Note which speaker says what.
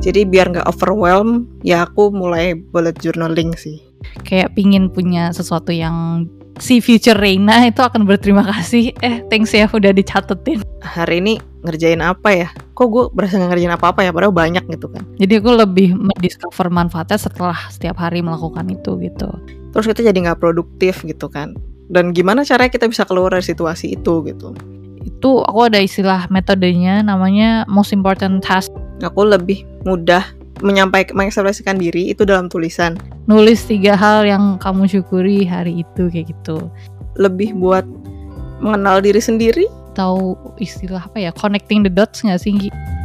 Speaker 1: Jadi biar nggak overwhelm, ya aku mulai bullet journaling sih.
Speaker 2: Kayak pingin punya sesuatu yang si future Reina itu akan berterima kasih. Eh, thanks ya udah dicatetin.
Speaker 1: Hari ini ngerjain apa ya? Kok gue berasa nggak ngerjain apa-apa ya? Padahal banyak gitu kan.
Speaker 2: Jadi aku lebih mendiscover manfaatnya setelah setiap hari melakukan itu gitu.
Speaker 1: Terus kita jadi nggak produktif gitu kan. Dan gimana caranya kita bisa keluar dari situasi itu gitu?
Speaker 2: Itu aku ada istilah metodenya namanya most important task.
Speaker 1: Aku lebih mudah menyampaikan mengekspresikan diri itu dalam tulisan.
Speaker 2: Nulis tiga hal yang kamu syukuri hari itu kayak gitu.
Speaker 1: Lebih buat mengenal diri sendiri
Speaker 2: Tahu istilah apa ya? Connecting the dots nggak sih? Gi?